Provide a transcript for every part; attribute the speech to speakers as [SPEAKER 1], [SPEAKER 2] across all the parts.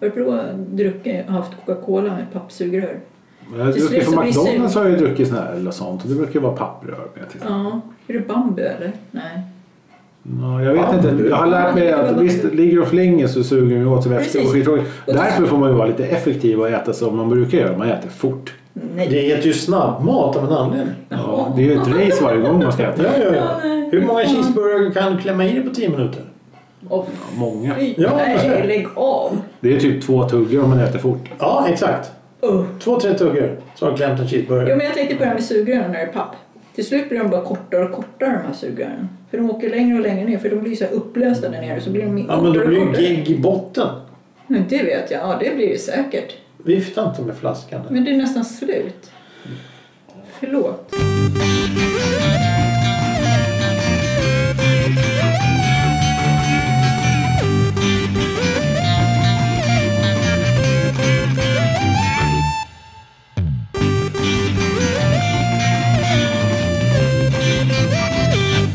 [SPEAKER 1] Örebro har druckit, haft Coca-Cola i pappsugrör.
[SPEAKER 2] Men Jag
[SPEAKER 1] Till slut
[SPEAKER 2] druckit
[SPEAKER 1] så
[SPEAKER 2] på
[SPEAKER 1] blir det
[SPEAKER 2] McDonalds har jag ju druckit sån här eller sånt och det brukar ju vara papprör med till.
[SPEAKER 1] Ja. Är det bambu eller? Nej.
[SPEAKER 2] Ja, jag vet
[SPEAKER 3] Ja,
[SPEAKER 2] inte.
[SPEAKER 3] du-
[SPEAKER 2] Jag har lärt mig att visst, ligger de för länge så suger de åt sig vätska och
[SPEAKER 1] Precis.
[SPEAKER 2] skittråkigt.
[SPEAKER 1] Och
[SPEAKER 2] Därför får man ju vara lite effektiv och äta som man brukar göra. Man äter fort.
[SPEAKER 1] Nej.
[SPEAKER 3] Det heter ju snabbmat av en anledning.
[SPEAKER 2] Ja, det är ju ett race varje gång man ska äta.
[SPEAKER 3] Ja, ja,
[SPEAKER 1] Ja,
[SPEAKER 3] ja.
[SPEAKER 1] nej.
[SPEAKER 3] Hur många cheeseburgare kan du klämma i dig på 10 minuter?
[SPEAKER 1] Åh,
[SPEAKER 2] Många.
[SPEAKER 1] fy,
[SPEAKER 3] Ja.
[SPEAKER 1] Nej, lägg av!
[SPEAKER 2] Det är typ två tuggar om man äter fort.
[SPEAKER 3] Ja, exakt.
[SPEAKER 1] Usch.
[SPEAKER 3] Två, tre tuggor så har du klämt en cheeseburgare.
[SPEAKER 1] Jo, men jag tänkte på det här med sugrören när det är papp. Till slut blir de bara kortare och kortare de här sugrören. För de åker längre och längre ner för de blir så här upplösta där nere så blir de
[SPEAKER 3] Ja, men då
[SPEAKER 1] kortare och
[SPEAKER 3] blir ju
[SPEAKER 1] kortare.
[SPEAKER 3] gegg i botten.
[SPEAKER 1] Men Det vet jag, ja det blir det säkert.
[SPEAKER 3] Vifta inte med flaskan. där.
[SPEAKER 1] Men det är nästan slut. Förlåt.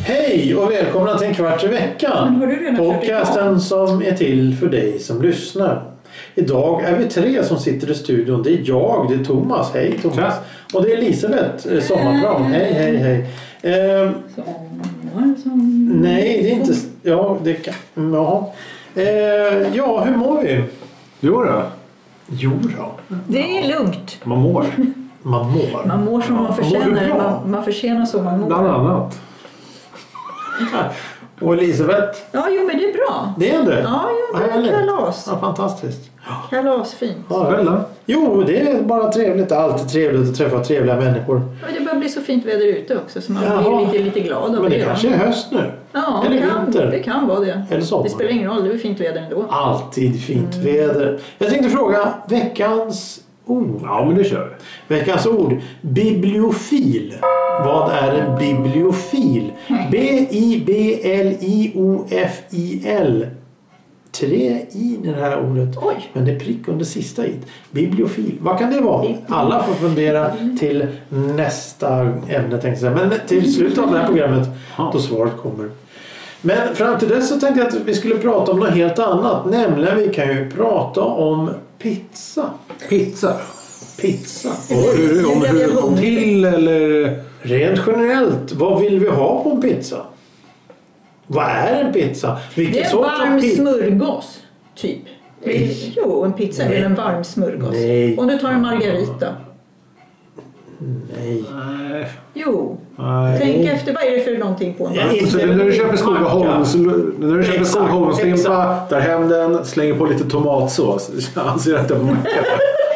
[SPEAKER 3] Hej och välkomna till en kvart i
[SPEAKER 1] Men har
[SPEAKER 3] veckan.
[SPEAKER 1] du redan kört
[SPEAKER 3] Podcasten som är till för dig som lyssnar. Idag är vi tre som sitter i studion. Det är jag, det är Thomas. Hej Thomas. Och det är Elisabeth eh, Sommarplan. Hej, hej, hej. Ehm,
[SPEAKER 1] Sommar, sommar.
[SPEAKER 3] nej, det är inte... Ja, det kan... mm, Jaha. Ehm, ja, hur mår vi?
[SPEAKER 2] Jo då,
[SPEAKER 3] Jo då,
[SPEAKER 1] Det är lugnt.
[SPEAKER 2] man mår.
[SPEAKER 3] man mår.
[SPEAKER 1] Man mår som man
[SPEAKER 3] mår du bra?
[SPEAKER 1] förtjänar. Man, man förtjänar som man
[SPEAKER 2] Bland
[SPEAKER 1] mår.
[SPEAKER 2] annat.
[SPEAKER 3] Och Elisabeth,
[SPEAKER 1] Ja, jo men det är bra.
[SPEAKER 3] det är du?
[SPEAKER 1] Ja, jo, det var
[SPEAKER 3] Härligt.
[SPEAKER 1] kalas.
[SPEAKER 3] Ja, fantastiskt.
[SPEAKER 1] Kalasfint.
[SPEAKER 2] Själv då?
[SPEAKER 3] Jo, det är bara trevligt. Det är alltid trevligt att träffa trevliga människor.
[SPEAKER 1] Och det börjar bli så fint väder ute också så man
[SPEAKER 3] Jaha.
[SPEAKER 1] blir lite, lite glad av
[SPEAKER 3] Men
[SPEAKER 1] det.
[SPEAKER 3] det kanske är höst nu.
[SPEAKER 1] Ja,
[SPEAKER 3] Eller
[SPEAKER 1] det kan,
[SPEAKER 3] vinter.
[SPEAKER 1] det kan vara det.
[SPEAKER 3] Eller sommar.
[SPEAKER 1] Det spelar ingen roll, det är väl fint väder
[SPEAKER 3] Ah,
[SPEAKER 1] ändå.
[SPEAKER 3] Alltid fint
[SPEAKER 1] Mm.
[SPEAKER 3] väder. Jag tänkte fråga veckans ord.
[SPEAKER 2] Ja, men det kör vi.
[SPEAKER 3] Veckans ord. Bibliofil. Vad är en bibliofil? B-I-B-L-I-O-F-I-L. Tre i det här ordet.
[SPEAKER 1] Oj.
[SPEAKER 3] Men det är prick under sista i. Bibliofil. Vad kan det vara? Alla får fundera till nästa ämne tänkte jag säga. Men till slutet av det här programmet då svaret kommer. Men fram till dess så tänkte jag att vi skulle prata om något helt annat. Nämligen vi kan ju prata om pizza.
[SPEAKER 2] Pizza.
[SPEAKER 3] Pizza.
[SPEAKER 2] Hur, om hur det kom till eller...
[SPEAKER 3] Rent generellt, vad vill vi ha på en pizza? Vad är en pizza? Vilken
[SPEAKER 1] Det är en
[SPEAKER 3] sorts
[SPEAKER 1] varm
[SPEAKER 3] pi-
[SPEAKER 1] smörgås, typ.
[SPEAKER 3] Nej.
[SPEAKER 1] Jo, en pizza är
[SPEAKER 3] Nej.
[SPEAKER 1] väl en varm smörgås.
[SPEAKER 3] Nej.
[SPEAKER 1] Om du tar en margarita.
[SPEAKER 3] Nej.
[SPEAKER 2] Nej.
[SPEAKER 1] Jo.
[SPEAKER 3] Ah,
[SPEAKER 2] Nej.
[SPEAKER 1] Tänk efter, vad är det för någonting på en
[SPEAKER 3] Ja.
[SPEAKER 1] varm-
[SPEAKER 2] Så det är när du köper Skogaholms... När du köper
[SPEAKER 3] Exakt,
[SPEAKER 2] Skogaholmslimpa, tar hem den, slänger på lite tomatsås. Anser att det var macka.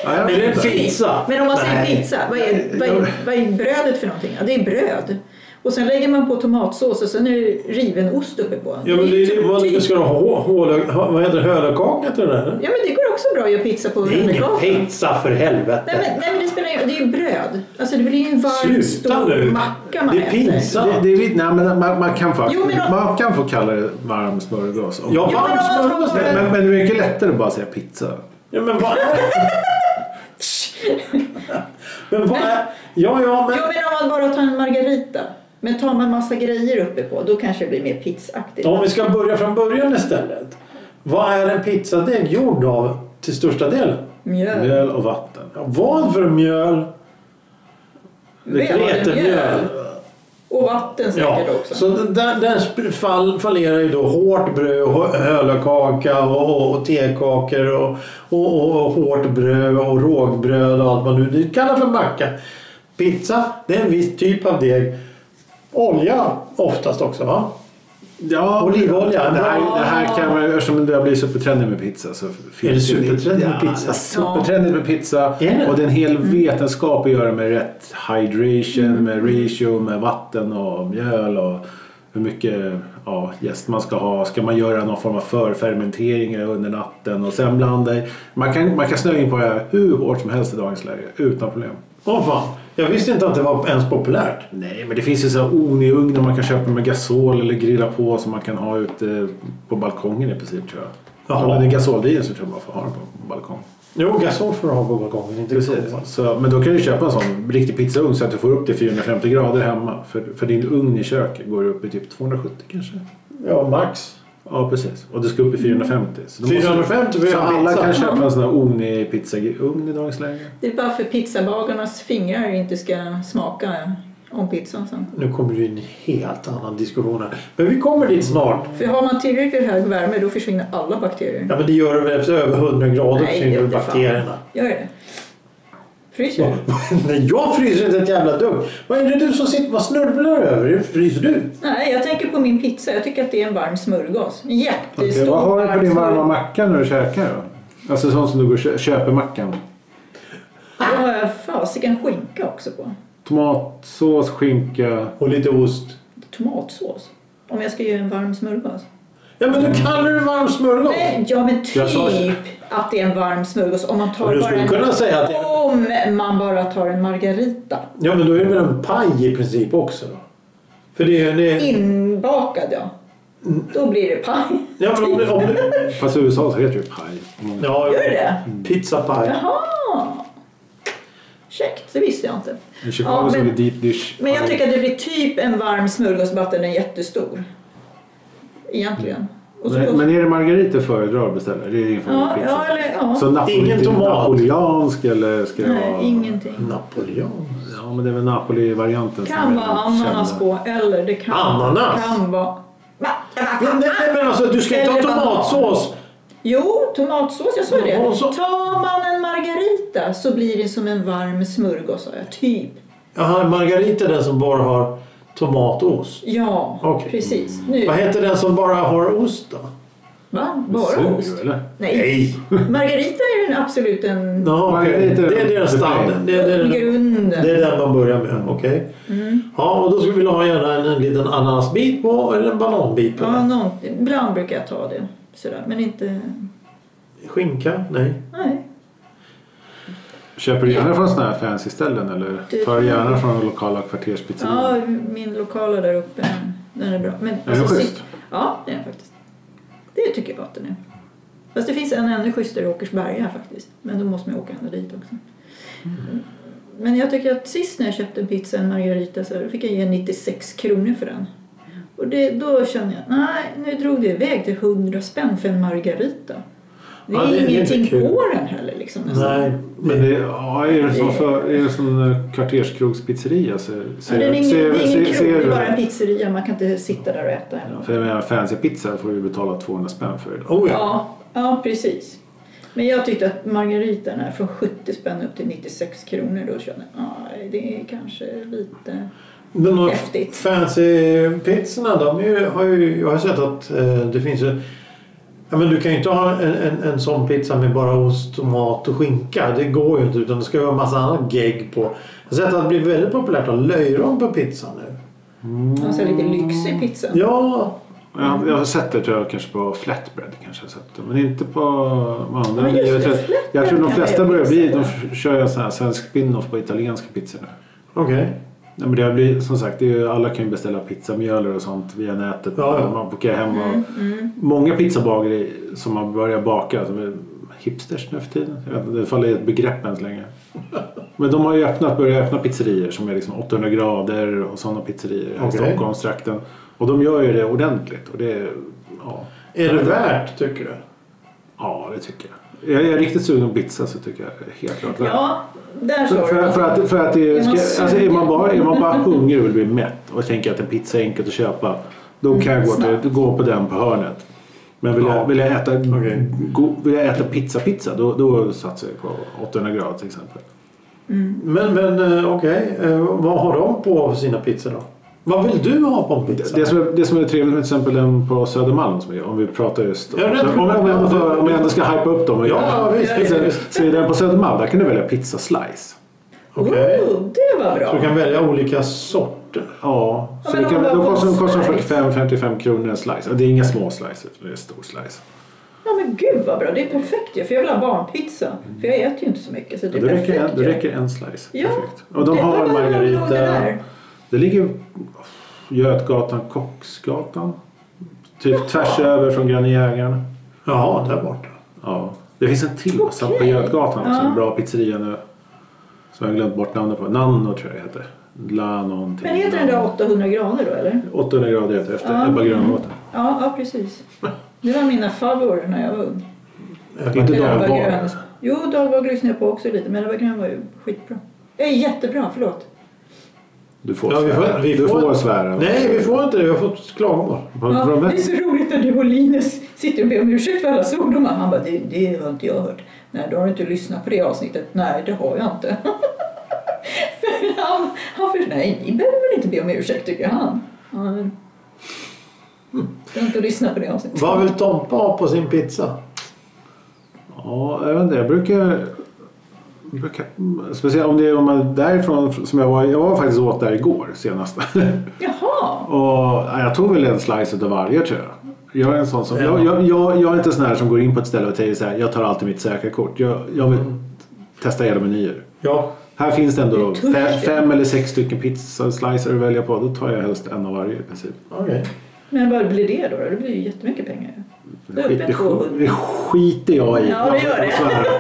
[SPEAKER 2] Nej, jag
[SPEAKER 3] Är det
[SPEAKER 2] vet
[SPEAKER 3] en
[SPEAKER 2] inte.
[SPEAKER 3] pizza?
[SPEAKER 1] Men om man säger
[SPEAKER 3] Nej.
[SPEAKER 1] pizza, vad är, vad, är, vad är brödet för någonting? Ja, det är bröd. Och sen lägger man på tomatsås och sen är det riven ost uppe på.
[SPEAKER 3] Ja, men det, är ju-
[SPEAKER 1] typ-
[SPEAKER 3] vad, ska du ha hå- hålö- ha- vad heter det? Hölökaka till det där?
[SPEAKER 1] Ja, men det går också bra att göra pizza på
[SPEAKER 3] Det är ingen
[SPEAKER 1] rullegatan.
[SPEAKER 3] pizza för
[SPEAKER 1] Nej
[SPEAKER 3] helvete.
[SPEAKER 1] men, nej men det spelar ingen Det är ju bröd. Alltså det blir ju en varm
[SPEAKER 3] Sluta
[SPEAKER 1] stor
[SPEAKER 3] nu.
[SPEAKER 1] macka man
[SPEAKER 3] Det är pinsamt.
[SPEAKER 2] Det, det är lite, nej, men man, man, kan faktiskt,
[SPEAKER 1] Jo, men om-
[SPEAKER 2] man kan få kalla det varm smörgås. Om-
[SPEAKER 3] Ja,
[SPEAKER 1] Jo, men om man
[SPEAKER 3] varm
[SPEAKER 1] tar
[SPEAKER 3] smörgås.
[SPEAKER 1] bara-
[SPEAKER 2] Men, men, men det är mycket lättare att bara säga pizza.
[SPEAKER 3] Ja, men vad Men vad är... Ja, ja, men...
[SPEAKER 1] Jo men om man bara tar en margarita. Men tar man massa grejer uppe på då kanske det blir mer pizzaaktigt.
[SPEAKER 3] Om vi ska börja från början istället. Vad är en pizzadeg gjord av till största delen?
[SPEAKER 1] Mjöl.
[SPEAKER 2] Mjöl och vatten.
[SPEAKER 3] Ja, Vad för mjöl? Vetemjöl.
[SPEAKER 1] Och vatten
[SPEAKER 3] Ja,
[SPEAKER 1] säkert också.
[SPEAKER 3] så där, där sp- fall, fallerar ju då hårt bröd, och hö- hölakaka och, och, och tekakor och, och, och, och hårt bröd och rågbröd och allt vad nu det kallar för macka. Pizza, det är en viss typ av deg. Olja oftast också va?
[SPEAKER 2] Ja,
[SPEAKER 3] Olivolja.
[SPEAKER 2] Det här, det här kan man, eftersom det har blivit supertrendigt med pizza. Så finns
[SPEAKER 3] Är det supertrendigt med
[SPEAKER 2] ja,
[SPEAKER 3] pizza?
[SPEAKER 2] Supertrendigt med pizza.
[SPEAKER 3] Är det?
[SPEAKER 2] Och det är en hel vetenskap att göra med rätt hydration, med ratio, med vatten och mjöl och hur mycket ja, jäst man ska ha. Ska man göra någon form av förfermentering under natten och sen blanda i. Man kan, man kan snöa in på det här hur hårt som helst i dagens läge utan problem.
[SPEAKER 3] Åh fan, jag visste inte att det var ens populärt.
[SPEAKER 2] Nej, men det finns ju så här oniugnar man kan köpa med gasol eller grilla på som man kan ha ute på balkongen i princip tror jag.
[SPEAKER 3] Jaha.
[SPEAKER 2] Jaha. Om det är gasoldigen så tror jag man får ha den på balkong.
[SPEAKER 3] Jo, gasol får du ha på balkongen. Inte
[SPEAKER 2] Precis. Så, men då kan du köpa en sån riktig pizzaugn så att du får upp till 450 grader hemma. För, för din ugn i köket går upp i typ 270 kanske.
[SPEAKER 3] Ja, max.
[SPEAKER 2] Ja, precis. Och det ska upp i 450. Så, då
[SPEAKER 3] 450 för
[SPEAKER 2] måste, så
[SPEAKER 3] en
[SPEAKER 2] alla
[SPEAKER 3] pizza.
[SPEAKER 2] kan köpa en sån här Oni-pizza. Ugn i dagens läge.
[SPEAKER 1] Det är bara för pizzabagarnas fingrar inte ska smaka om pizzan sen.
[SPEAKER 3] Nu kommer det ju en helt annan diskussion här. Men vi kommer dit snart.
[SPEAKER 1] För har man tillräckligt hög värme då försvinner alla bakterier.
[SPEAKER 3] Ja men det gör det väl efter över 100 grader
[SPEAKER 1] Nej,
[SPEAKER 3] försvinner väl
[SPEAKER 1] jättefan.
[SPEAKER 3] bakterierna.
[SPEAKER 1] Gör det. Fryser du?
[SPEAKER 3] Nej, jag fryser inte ett jävla dugg. Vad är det du som sitter och snörvlar över? Hur fryser du?
[SPEAKER 1] Nej, jag tänker på min pizza. Jag tycker att det är en varm smörgås. En Jättestor
[SPEAKER 2] Okej, vad har du på
[SPEAKER 1] varm
[SPEAKER 2] din varma
[SPEAKER 1] smörgås.
[SPEAKER 2] macka när du käkar då? Alltså sånt som du går och kö- köper mackan.
[SPEAKER 1] Då har jag fasiken skinka också på.
[SPEAKER 2] Tomatsås, skinka.
[SPEAKER 3] Och lite ost.
[SPEAKER 1] Tomatsås. Om jag ska göra en varm smörgås.
[SPEAKER 3] Ja men du kallar det varm smörgås.
[SPEAKER 1] Mm. Nej, ja men
[SPEAKER 2] Jag sa-
[SPEAKER 1] typ att det är en varm smörgås. Om man
[SPEAKER 3] Och
[SPEAKER 1] tar
[SPEAKER 3] du
[SPEAKER 1] bara
[SPEAKER 3] skulle
[SPEAKER 1] en...
[SPEAKER 3] kunna säga att det är...
[SPEAKER 1] Om man bara tar en margarita.
[SPEAKER 3] Ja men då är det väl en paj i princip också då? För det är... Det är...
[SPEAKER 1] Inbakad ja.
[SPEAKER 3] Mm.
[SPEAKER 1] Då blir det paj.
[SPEAKER 3] Ja men om du... Om du...
[SPEAKER 2] Fast i USA så heter det ju paj. Mm.
[SPEAKER 3] Ja, Mm.
[SPEAKER 1] Gör det?
[SPEAKER 3] Pizzapaj.
[SPEAKER 1] Jaha! Käckt, det visste jag inte.
[SPEAKER 2] I Chicago
[SPEAKER 1] Ja,
[SPEAKER 2] så är
[SPEAKER 1] men-
[SPEAKER 2] det deep dish.
[SPEAKER 1] Men jag
[SPEAKER 2] paj.
[SPEAKER 1] tycker att det blir typ en varm smörgås bara att den är jättestor.
[SPEAKER 3] Mm.
[SPEAKER 1] Egentligen. Och så
[SPEAKER 2] Men, men är det margarit du föredrar att beställa? Det är din
[SPEAKER 1] ja,
[SPEAKER 2] favoritpizza.
[SPEAKER 1] ja, eller ja.
[SPEAKER 2] Så napoli-
[SPEAKER 3] Ingen tomat.
[SPEAKER 2] Napoleansk eller ska det vara...
[SPEAKER 1] Nej, ingenting.
[SPEAKER 3] Napoleon.
[SPEAKER 2] Ja, men det är väl Napoli-varianten som
[SPEAKER 1] Kan
[SPEAKER 2] är
[SPEAKER 1] vara
[SPEAKER 2] den
[SPEAKER 1] ananas
[SPEAKER 2] kända.
[SPEAKER 1] på eller det kan,
[SPEAKER 3] Ananas?
[SPEAKER 1] kan vara... Va?
[SPEAKER 3] Nej, nej, nej men alltså du ska inte ha
[SPEAKER 1] Eller banan.
[SPEAKER 3] tomatsås.
[SPEAKER 1] Jo, tomatsås, jag sa ju det.
[SPEAKER 3] Ja, och så-
[SPEAKER 1] Tar man en margarita så blir det som en varm smörgås sa jag. Typ.
[SPEAKER 3] Jaha, Margarita är den som bara har tomat och ost.
[SPEAKER 1] Ja,
[SPEAKER 3] Okej.
[SPEAKER 1] precis. Nu.
[SPEAKER 3] Vad heter den som bara har ost då?
[SPEAKER 1] Va?
[SPEAKER 2] Suger,
[SPEAKER 1] Bara ost?
[SPEAKER 2] eller?
[SPEAKER 1] Nej. Margarita är den absolut en...
[SPEAKER 3] Ja, okej.
[SPEAKER 2] Margarita är
[SPEAKER 3] Det är
[SPEAKER 2] den-
[SPEAKER 3] deras standard. Det är, det, är,
[SPEAKER 1] Grunden.
[SPEAKER 3] det är den man börjar med. Okej.
[SPEAKER 1] Mm.
[SPEAKER 3] Ja, och då skulle vi ha gärna en, en liten ananasbit på eller en bananbit på.
[SPEAKER 1] Ja,
[SPEAKER 3] den.
[SPEAKER 1] någon, ibland brukar jag ta det. Sådär. Men inte...
[SPEAKER 3] Skinka? Nej.
[SPEAKER 1] Nej.
[SPEAKER 2] Köper du gärna från sådana här fancy ställen eller
[SPEAKER 1] Det-
[SPEAKER 2] tar du gärna från de lokala kvarterspizzerian?
[SPEAKER 1] Ja, min lokala där uppe, den är bra. Men, är
[SPEAKER 2] den schysst?
[SPEAKER 1] Ja, det är den faktiskt. Det tycker jag att den är. Fast det finns en ännu schysstare i Åkersberga faktiskt. Men då måste man ju åka ända dit också. Men jag tycker att sist när jag köpte en pizza, en margarita, så här, fick jag ge 96 kronor för den. Och det, då kände jag, nej, nu drog det iväg till 100 spänn för en margarita. Det är
[SPEAKER 3] Ja, det- det är inte
[SPEAKER 1] ingenting
[SPEAKER 3] kul.
[SPEAKER 1] på den heller liksom. nästan.
[SPEAKER 3] Nej.
[SPEAKER 2] Men det, ja, är det som för, är det som en kvarterskrogspizzeria så
[SPEAKER 1] Ja, det är ingen, det är ingen krog, det är bara en
[SPEAKER 2] det.
[SPEAKER 1] pizzeria. Man kan inte sitta där och äta. Eller.
[SPEAKER 2] För jag menar fancy pizza får vi betala 200 spänn för idag.
[SPEAKER 3] Oh, ja.
[SPEAKER 1] Ja, ja, precis. Men jag tyckte att margaritan är från 70 spänn upp till 96 kronor. Då kände jag nej, det är kanske lite...
[SPEAKER 3] Men de
[SPEAKER 1] Häftigt.
[SPEAKER 3] fancy pizzorna de är ju, har ju, jag har sett att eh, det finns ju Ja, men du kan ju inte ha en, en, en sån pizza med bara ost, tomat och skinka. Det går ju inte utan det ska ju vara massa annat gegg på. Jag har sett att det blir väldigt populärt att ha löjrom på pizza nu.
[SPEAKER 1] Alltså lite lyxig pizza.
[SPEAKER 3] Ja,
[SPEAKER 2] Jag, jag har sett det tror jag kanske på flatbread kanske jag har sett det. Men inte på de andra.
[SPEAKER 1] Ja, just det,
[SPEAKER 2] jag, tror, jag tror de
[SPEAKER 1] flatbread
[SPEAKER 2] flesta
[SPEAKER 1] kan jag
[SPEAKER 2] börjar bli,
[SPEAKER 1] pizza.
[SPEAKER 2] de f- kör ju en sån här svensk spin-off på italienska pizzor nu.
[SPEAKER 3] okej.
[SPEAKER 2] Nej, men det har blivit, som sagt, det är ju, alla kan ju beställa pizzamjöler och sånt via nätet.
[SPEAKER 3] Ja, ja.
[SPEAKER 2] Man bokar hem
[SPEAKER 1] Mm.
[SPEAKER 2] och, Många pizzabagare som har börjat baka, som är hipsters nu för tiden. Jag vet inte, det faller i ett begrepp än så länge. Men de har ju öppnat, börjat öppna pizzerier som är liksom 800 grader och sådana pizzerier här i
[SPEAKER 3] Okej.
[SPEAKER 2] Stockholmstrakten. Och de gör ju det ordentligt. Och det, är- ja,
[SPEAKER 3] Är det värt tycker du?
[SPEAKER 2] ja, det tycker jag. Är jag riktigt sugen på pizza så tycker jag helt klart det.
[SPEAKER 1] Ja, där sa
[SPEAKER 2] För,
[SPEAKER 1] du
[SPEAKER 2] för, för att, för att det
[SPEAKER 1] Är man
[SPEAKER 2] ska, alltså är, man bara, är man bara hungrig och vill bli mätt och tänker att en pizza är enkelt att köpa. Då kan jag gå, till, gå på den på hörnet. Men vill,
[SPEAKER 3] Ja.
[SPEAKER 2] jag, vill, jag, äta,
[SPEAKER 3] Okej.
[SPEAKER 2] go, vill jag äta pizza pizza då, då satsar jag på 800 grader till exempel.
[SPEAKER 3] Men, men eh, okej, eh, vad har de på sina pizzor då? Vad vill du ha på en pizza?
[SPEAKER 2] Det som, är, det som är trevligt med till exempel den på Södermalm som är, om vi pratar just om,
[SPEAKER 3] Ja, det-
[SPEAKER 2] om, jag- om, jag, ändå- om jag ändå ska hypa upp dem. och
[SPEAKER 3] Ja,
[SPEAKER 2] göra-
[SPEAKER 3] visst,
[SPEAKER 2] så-
[SPEAKER 3] visst, visst.
[SPEAKER 2] Så är den på Södermalm där kan du välja pizza slice.
[SPEAKER 3] Okej.
[SPEAKER 1] Oh, det var
[SPEAKER 3] Så du
[SPEAKER 1] bra.
[SPEAKER 3] kan välja olika sorter.
[SPEAKER 2] Ja, så
[SPEAKER 1] men
[SPEAKER 2] det
[SPEAKER 1] om
[SPEAKER 2] kan,
[SPEAKER 1] man
[SPEAKER 2] då
[SPEAKER 1] bara
[SPEAKER 2] kostar,
[SPEAKER 1] får
[SPEAKER 2] kostar
[SPEAKER 1] slice.
[SPEAKER 2] 45-55 kronor en slice. Och det är inga små slices, utan det är en stor slice.
[SPEAKER 1] Ja, men gud vad bra. Det är perfekt ju. För jag vill ha barnpizza. För jag äter ju inte så mycket. Så det
[SPEAKER 2] Ja,
[SPEAKER 1] är
[SPEAKER 2] då,
[SPEAKER 1] perfekt
[SPEAKER 2] räcker en, då
[SPEAKER 1] ju.
[SPEAKER 2] räcker en slice.
[SPEAKER 1] Ja,
[SPEAKER 2] Perfekt. Och de
[SPEAKER 1] det-
[SPEAKER 2] har
[SPEAKER 1] vad var det
[SPEAKER 2] margarita.
[SPEAKER 1] då det där?
[SPEAKER 2] Det ligger Götgatan, Kocksgatan. Typ tvärs över från Granjägaren.
[SPEAKER 3] Jaha, där borta.
[SPEAKER 2] Ja. Det finns en till massa på
[SPEAKER 1] Okej.
[SPEAKER 2] Götgatan också.
[SPEAKER 1] Ja.
[SPEAKER 2] En bra pizzeria nu. Som jag har glömt bort namnet på. Nanno tror jag det heter. La någonting.
[SPEAKER 1] Men heter den där 800 grader då eller?
[SPEAKER 2] 800 grader heter det efter
[SPEAKER 1] Ja.
[SPEAKER 2] Ebba Grönlåten.
[SPEAKER 1] Ja, ja, precis. Det var mina favoriter när jag var ung.
[SPEAKER 3] Eh,
[SPEAKER 2] Inte
[SPEAKER 1] Grön var
[SPEAKER 2] Dalvag.
[SPEAKER 1] grön. Jo, Dalvag lyssnade jag på också lite, men det var grön var ju skitbra. Äh, jättebra, förlåt.
[SPEAKER 2] Du får
[SPEAKER 3] Ja, vi får-
[SPEAKER 2] svära.
[SPEAKER 3] vi
[SPEAKER 2] du
[SPEAKER 3] får-
[SPEAKER 2] får svära.
[SPEAKER 3] Nej, vi får inte det. Vi har fått klagomål.
[SPEAKER 2] Vad- vad-
[SPEAKER 1] det är så roligt när du och Linus sitter och ber om ursäkt för alla svordomar. Han bara, det, det har inte jag hört. Nej, då har du inte lyssnat på det avsnittet. Nej, det har jag inte. för han, han för, nej, ni behöver väl inte be om ursäkt, tycker han. Han Du har inte lyssnat på det avsnittet.
[SPEAKER 3] Mm. Vad vill Tompa ha på sin pizza?
[SPEAKER 2] Ja, jag vet inte. Jag brukar... brukar speciellt om det är om man, därifrån som jag var. Jag var faktiskt åt där igår senast.
[SPEAKER 1] Jaha!
[SPEAKER 2] och ja, jag tog väl en slice av varje tror jag. Jag är en sån som... Jag, jag, jag, jag är inte sån här som går in på ett ställe och säger så här. Jag tar alltid mitt säkra kort. Jag, jag vill testa hela menyer.
[SPEAKER 3] Ja,
[SPEAKER 2] Här finns det ändå
[SPEAKER 1] Det är
[SPEAKER 2] fem,
[SPEAKER 1] törs, ja.
[SPEAKER 2] fem eller sex stycken pizzaslicer att välja på. Då tar jag helst en av varje i princip.
[SPEAKER 3] okej.
[SPEAKER 1] Men vad blir det då? Det blir ju jättemycket pengar. ju.
[SPEAKER 2] Det,
[SPEAKER 1] Uppe
[SPEAKER 2] skit, det, sk-
[SPEAKER 1] 200.
[SPEAKER 2] det skiter jag i.
[SPEAKER 1] Ja, det gör det.
[SPEAKER 2] Jag får svära.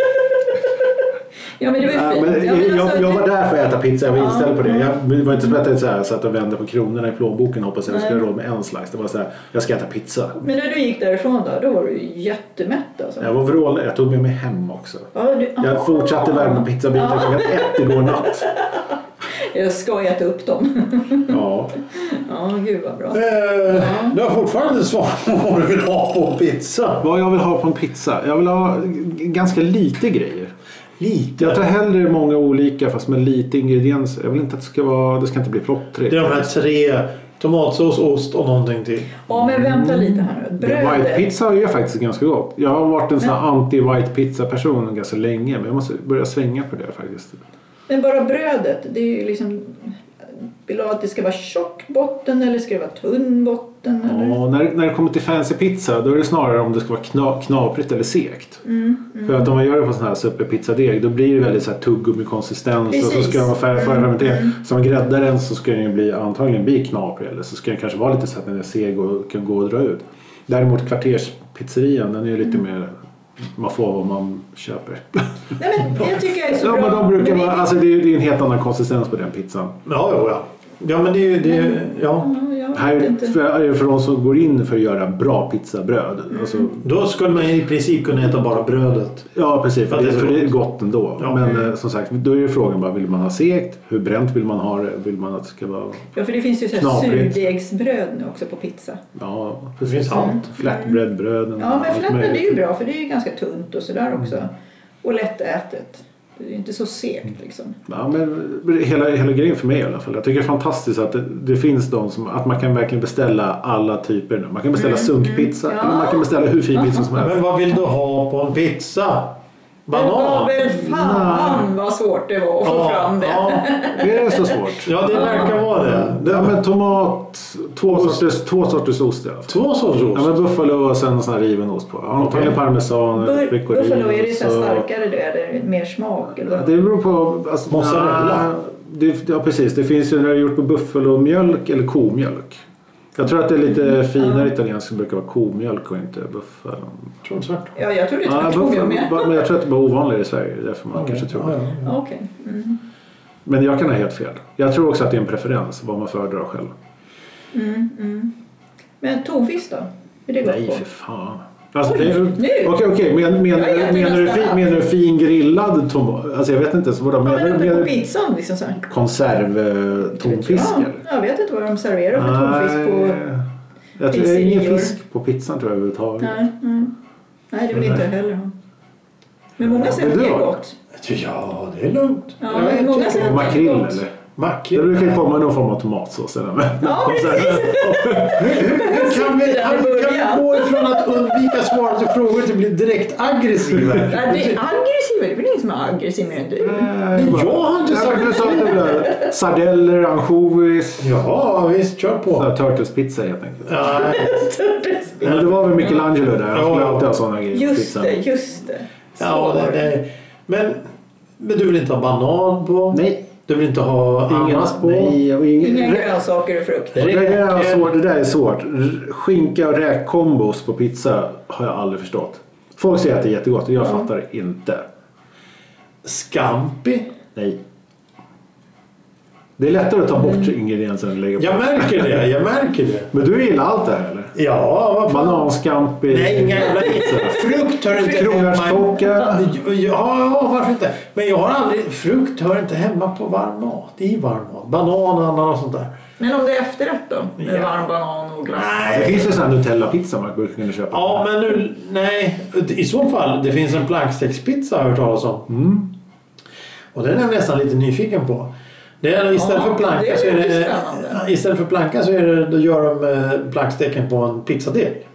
[SPEAKER 1] Ja, men det var
[SPEAKER 2] Nej,
[SPEAKER 1] ju fint.
[SPEAKER 2] men
[SPEAKER 1] Ja, men
[SPEAKER 2] jag,
[SPEAKER 1] alltså,
[SPEAKER 2] jag var där för att äta pizza, jag var
[SPEAKER 1] Ja.
[SPEAKER 2] inställd på det. Jag, det var inte som att jag så här, satt och vände på kronorna i plånboken och hoppades att jag
[SPEAKER 1] Nej.
[SPEAKER 2] skulle ha råd med en slice. Det var så här, jag ska äta pizza.
[SPEAKER 1] Men när du gick därifrån då, då var du ju jättemätt alltså.
[SPEAKER 2] Jag var vrålig, jag tog med mig hem också.
[SPEAKER 1] Ja, du,
[SPEAKER 2] Jag fortsatte värma pizzabitar klockan ett igår natt.
[SPEAKER 1] Jag ska äta upp dem.
[SPEAKER 2] Ja.
[SPEAKER 1] Ja, gud vad bra.
[SPEAKER 3] Eh, Du har fortfarande inte svarat på vad du vill ha på pizza.
[SPEAKER 2] Vad jag vill ha på en pizza? Jag vill ha g- ganska lite grejer.
[SPEAKER 3] Lite.
[SPEAKER 2] Jag tar hellre många olika fast med lite ingredienser. Jag vill inte att det ska vara, det ska inte bli plottrigt.
[SPEAKER 3] Det är de här tre. Tomatsås, ost och någonting till.
[SPEAKER 1] Ja, men vänta lite här nu.
[SPEAKER 2] Mm. White
[SPEAKER 1] Brödet.
[SPEAKER 2] pizza är faktiskt ganska gott. Jag har varit en sån här anti-white pizza person ganska länge men jag måste börja svänga på det faktiskt.
[SPEAKER 1] Men bara brödet, det är ju liksom... Vill du att det ska vara tjock botten eller ska det vara tunn botten? Eller?
[SPEAKER 2] Ja, när, när det kommer till fancy pizza då är det snarare om det ska vara kna, knaprigt eller segt.
[SPEAKER 1] Mm,
[SPEAKER 2] För att om man gör det på sån här superpizzadeg då blir det väldigt så här tuggummi-konsistens och så
[SPEAKER 1] Precis.
[SPEAKER 2] ska den vara färg,
[SPEAKER 1] Mm,
[SPEAKER 2] färgfermenterad. Som gräddar den så ska den ju bli, antagligen bli knaprig eller så ska den kanske vara lite så att den är seg och kan gå och dra ut. Däremot kvarterspizzerian den är ju
[SPEAKER 1] Mm.
[SPEAKER 2] lite mer man får vad man köper.
[SPEAKER 1] Nej, men jag tycker jag är så
[SPEAKER 2] Ja,
[SPEAKER 1] bra.
[SPEAKER 2] men de brukar
[SPEAKER 1] Men det-
[SPEAKER 2] vara, alltså det är, det är en helt annan konsistens på den pizzan.
[SPEAKER 3] Ja, jo, ja. Ja, men det är ju... Det är, ja.
[SPEAKER 1] Ja, jag vet
[SPEAKER 2] Här,
[SPEAKER 1] inte.
[SPEAKER 2] för, eh, för de som går in för att göra bra pizzabröd.
[SPEAKER 1] Mm.
[SPEAKER 2] Alltså,
[SPEAKER 3] Då skulle man i princip kunna äta bara brödet.
[SPEAKER 2] Ja precis, för,
[SPEAKER 3] För att
[SPEAKER 2] det,
[SPEAKER 3] det är
[SPEAKER 2] för
[SPEAKER 3] så
[SPEAKER 2] det är gott ändå.
[SPEAKER 3] Ja.
[SPEAKER 2] Men eh, som sagt, då är ju frågan bara vill man ha segt? Hur bränt vill man ha det? Vill man att det ska vara...
[SPEAKER 1] Ja, för det finns ju så här
[SPEAKER 2] Knaprigt.
[SPEAKER 1] surdegsbröd nu också på pizza.
[SPEAKER 2] Ja,
[SPEAKER 3] Det
[SPEAKER 2] precis.
[SPEAKER 3] finns allt.
[SPEAKER 2] Flatbreadbröden.
[SPEAKER 1] Mm. Ja, men
[SPEAKER 2] allt
[SPEAKER 1] flatbread är
[SPEAKER 2] möjligt. Mm.
[SPEAKER 1] ju bra för det är ju ganska tunt och sådär också. Och lättätet. Det är ju inte så segt liksom.
[SPEAKER 2] Ja, men hela, hela grejen för mig i alla fall. Jag tycker det är fantastiskt att det, det finns de som... Att man kan verkligen beställa alla typer nu. Man kan beställa sunkpizza.
[SPEAKER 1] Mm, Ja.
[SPEAKER 2] Eller man kan beställa hur fin pizza som helst.
[SPEAKER 3] Men vad vill du ha på en pizza?
[SPEAKER 1] Det var
[SPEAKER 3] Banan?
[SPEAKER 1] väl fan vad svårt det var att få fram det.
[SPEAKER 3] Ja,
[SPEAKER 2] Det är så svårt.
[SPEAKER 3] ja, det verkar vara det. det
[SPEAKER 2] Ja, men tomat, två sorters, två sorters ost i alla fall.
[SPEAKER 3] Två sorters
[SPEAKER 2] Ja,
[SPEAKER 3] ost.
[SPEAKER 2] men buffalo och sen sån här riven ost på. Ja, Antagligen parmesan,
[SPEAKER 1] Bur-
[SPEAKER 2] pecorino.
[SPEAKER 1] Buffalo, är det så här
[SPEAKER 2] så-
[SPEAKER 1] starkare då? Är det mer smak? Eller?
[SPEAKER 2] Ja,
[SPEAKER 1] vad?
[SPEAKER 2] Det beror på... Alltså,
[SPEAKER 3] Mozzarella.
[SPEAKER 2] nja, Det, ja, precis. Det finns ju när det är gjort på buffalomjölk eller komjölk. Jag tror att det är lite
[SPEAKER 1] Mm.
[SPEAKER 2] finare italienskt som brukar vara komjölk och inte buffalo.
[SPEAKER 3] Tror du tvärtom?
[SPEAKER 1] Ja, jag trodde
[SPEAKER 2] Ja,
[SPEAKER 1] tvärtom jag med.
[SPEAKER 2] buffalo- men jag tror att det är bara ovanligare i Sverige. det är Därför man
[SPEAKER 3] Ja,
[SPEAKER 2] kanske
[SPEAKER 3] ja,
[SPEAKER 2] tror det.
[SPEAKER 3] ja, ja.
[SPEAKER 1] Ja, Okej. Mm.
[SPEAKER 2] Men jag kan ha helt fel. Jag tror också att det är en preferens, vad man föredrar själv.
[SPEAKER 1] Mm, mm. Men tonfisk då? Är det gott
[SPEAKER 2] Nej,
[SPEAKER 1] på?
[SPEAKER 2] för fan. Alltså,
[SPEAKER 1] Oj,
[SPEAKER 2] det är,
[SPEAKER 1] nu!
[SPEAKER 2] Okej, okej. Men, men,
[SPEAKER 1] Jag äter
[SPEAKER 2] menar, du
[SPEAKER 1] nästan
[SPEAKER 2] fin,
[SPEAKER 1] allt.
[SPEAKER 2] menar du fin grillad tomat? Alltså jag vet inte ens vad de
[SPEAKER 1] Ja,
[SPEAKER 2] menar.
[SPEAKER 1] men uppe
[SPEAKER 2] menar
[SPEAKER 1] på
[SPEAKER 2] du
[SPEAKER 1] pizzan liksom så här.
[SPEAKER 2] konservtomfisk
[SPEAKER 1] Ja,
[SPEAKER 2] eller?
[SPEAKER 1] jag vet inte vad de serverar för tonfisk på...
[SPEAKER 2] Nej. jag tror, det är ingen
[SPEAKER 1] pizzerior.
[SPEAKER 2] fisk på pizzan tror jag överhuvudtaget.
[SPEAKER 1] Nej, nej. nej det vill inte jag heller ha. Men många säger
[SPEAKER 2] Men
[SPEAKER 1] att
[SPEAKER 2] du
[SPEAKER 1] det är
[SPEAKER 2] då?
[SPEAKER 1] gott.
[SPEAKER 3] Ja, det är lugnt.
[SPEAKER 1] Ja,
[SPEAKER 3] Jag
[SPEAKER 1] men
[SPEAKER 3] vet
[SPEAKER 1] många
[SPEAKER 3] inte.
[SPEAKER 1] säger-
[SPEAKER 2] Makrill
[SPEAKER 1] gott.
[SPEAKER 2] eller? Det
[SPEAKER 3] Makrill.
[SPEAKER 2] brukar ju komma någon form av tomatsås. Eller? Men,
[SPEAKER 1] Ja, precis!
[SPEAKER 3] Kan vi, kan, vi- kan vi gå ifrån att undvika svara till frågor till att bli direkt aggressiv här?
[SPEAKER 1] Ja, det är aggressiv. Det är väl ingen som är aggressiv mer än du?
[SPEAKER 3] Mm. jag har inte sagt-
[SPEAKER 2] du sa att det blev sardeller, ansjovis.
[SPEAKER 3] Ja, visst. Kör
[SPEAKER 2] så
[SPEAKER 3] på.
[SPEAKER 2] här Turtles-pizza helt enkelt.
[SPEAKER 3] Nej.
[SPEAKER 2] Men det var väl Michelangelo där. Han
[SPEAKER 3] Ja,
[SPEAKER 2] skulle
[SPEAKER 3] ja.
[SPEAKER 2] alltid ha sådana grejer på
[SPEAKER 1] Just
[SPEAKER 2] pizzan.
[SPEAKER 1] det, just det.
[SPEAKER 3] Ja,
[SPEAKER 1] Så.
[SPEAKER 3] det, det. Men, men du vill inte ha banan på?
[SPEAKER 2] Nej.
[SPEAKER 3] Du vill inte ha
[SPEAKER 2] Ingen,
[SPEAKER 3] ananas på?
[SPEAKER 2] nej, och ingen,
[SPEAKER 3] Mm.
[SPEAKER 1] Inga
[SPEAKER 2] rä-
[SPEAKER 1] grönsaker och frukter.
[SPEAKER 2] det, där är
[SPEAKER 3] Räkor.
[SPEAKER 2] svårt, det där är svårt. R- Skinka och räkkombos på pizza har jag aldrig förstått. Folk säger att det är jättegott och jag fattar inte.
[SPEAKER 3] Scampi?
[SPEAKER 2] Nej. Det är lättare att ta bort ingredienser än att lägga på.
[SPEAKER 3] Jag märker det, jag märker det.
[SPEAKER 2] Men du gillar allt det här eller?
[SPEAKER 3] Ja, vad fan.
[SPEAKER 2] Bananscampi?
[SPEAKER 3] Nej, inga jävla Frukt hör inte hemma.
[SPEAKER 2] Kronärtskocka?
[SPEAKER 3] Ja, ja, varför inte? Men jag har aldrig... Frukt hör inte hemma på varm mat. I varm mat. Banan, ananas och sånt där.
[SPEAKER 1] Men om det är efterrätt då? Med
[SPEAKER 3] Ja.
[SPEAKER 1] varm banan och glass?
[SPEAKER 2] Det finns ju sån här Nutella-pizza man skulle kunna köpa.
[SPEAKER 3] Ja, men nu... Nej. I så fall, det finns en plankstegspizza har jag hört talas om.
[SPEAKER 2] Mm.
[SPEAKER 3] Och den är jag nästan lite nyfiken på. Det är, istället,
[SPEAKER 1] Ja,
[SPEAKER 3] för planka
[SPEAKER 1] det är
[SPEAKER 3] så är
[SPEAKER 1] ju
[SPEAKER 3] det,
[SPEAKER 1] spännande.
[SPEAKER 3] istället för planka så är det, då gör de eh, planksteken på en pizzadeg.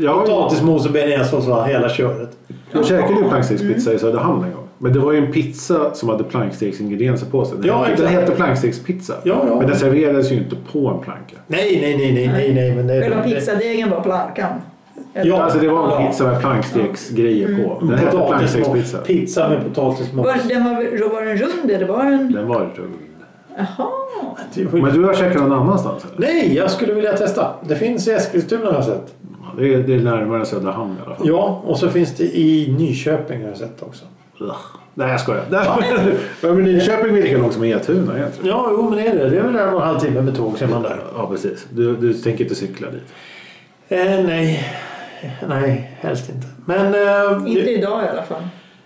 [SPEAKER 2] Ja,
[SPEAKER 3] Potatismos och bearnaisesås och hela köret.
[SPEAKER 2] Jag käkade ju plankstegspizza i Söderhamn en gång. Men det var ju en pizza som hade plankstegsingredienser på sig. Den,
[SPEAKER 3] Ja,
[SPEAKER 2] den
[SPEAKER 3] exakt.
[SPEAKER 2] hette plankstegspizza.
[SPEAKER 3] Ja, ja.
[SPEAKER 2] Men den serverades ju inte på en planka.
[SPEAKER 3] Nej, nej, nej, nej, nej, nej. Men det,
[SPEAKER 1] Själva
[SPEAKER 3] det-
[SPEAKER 1] pizzadegen var plankan? Eller?
[SPEAKER 3] Ja,
[SPEAKER 2] Alltså det var en
[SPEAKER 3] Ja.
[SPEAKER 2] pizza med plankstegsgrejer på. Den hette
[SPEAKER 3] Potatismos.
[SPEAKER 2] plankstegspizza.
[SPEAKER 3] Pizza med potatismos.
[SPEAKER 1] Var, den var, var den rund eller var den...
[SPEAKER 2] Den var ju
[SPEAKER 1] Jaha!
[SPEAKER 3] Det är skit-
[SPEAKER 2] Men du har käkat någon annanstans eller?
[SPEAKER 3] Nej, jag skulle vilja testa. Det finns i Eskilstuna har jag sett.
[SPEAKER 2] Ja, Det är, det är närmare Söderhamn i alla fall.
[SPEAKER 3] Ja, och så finns det i Nyköping har jag sett också.
[SPEAKER 2] Ugh. Nej jag skojar. Nej, Men Nyköping är lika långt som Etuna egentligen.
[SPEAKER 3] Ja, jo, men det är det. Det är väl en och en halv timme med tåg så är man där.
[SPEAKER 2] Ja precis. Du, du tänker inte cykla dit?
[SPEAKER 3] Eh, nej. Nej, helst inte. Men, eh,
[SPEAKER 1] Inte idag i alla fall.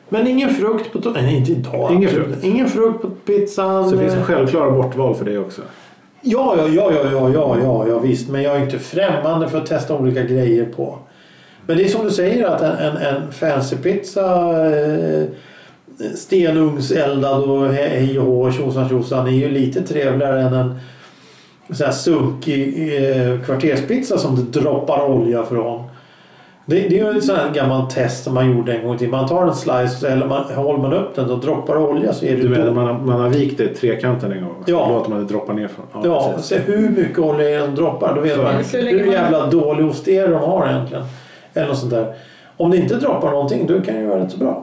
[SPEAKER 3] men ingen frukt på... to- Nej, inte idag.
[SPEAKER 2] Ingen
[SPEAKER 3] absolut.
[SPEAKER 2] frukt.
[SPEAKER 3] Ingen frukt på pizzan.
[SPEAKER 2] Så det finns
[SPEAKER 3] Eh,
[SPEAKER 2] självklara bortval för dig också.
[SPEAKER 3] Ja, ja, ja, ja, ja, ja, ja, ja, visst. Men jag är inte främmande för att testa olika grejer på. Men det är som du säger att en, en, en fancy pizza eh, stenugnseldad och he- hej och hå tjosan tjosan är ju lite trevligare än en sån här sunkig eh, kvarterspizza som det droppar olja från. Det, det är ju en sån här gammal test som man gjorde en gång till. Man tar en slice så häller man, håller man upp den och droppar olja så är det
[SPEAKER 2] Du
[SPEAKER 3] då-
[SPEAKER 2] menar man, har- man har vikt det i trekanten en gång?
[SPEAKER 3] Ja.
[SPEAKER 2] Så låter man det droppa ner från?
[SPEAKER 3] Ja,
[SPEAKER 2] precis.
[SPEAKER 3] se hur mycket olja de droppar. Då vet
[SPEAKER 2] Så.
[SPEAKER 3] man
[SPEAKER 1] Så lägger
[SPEAKER 3] hur
[SPEAKER 1] man-
[SPEAKER 3] jävla dålig ost är de har egentligen. Eller något sånt där. Om det inte droppar någonting, då kan det ju vara rätt så bra.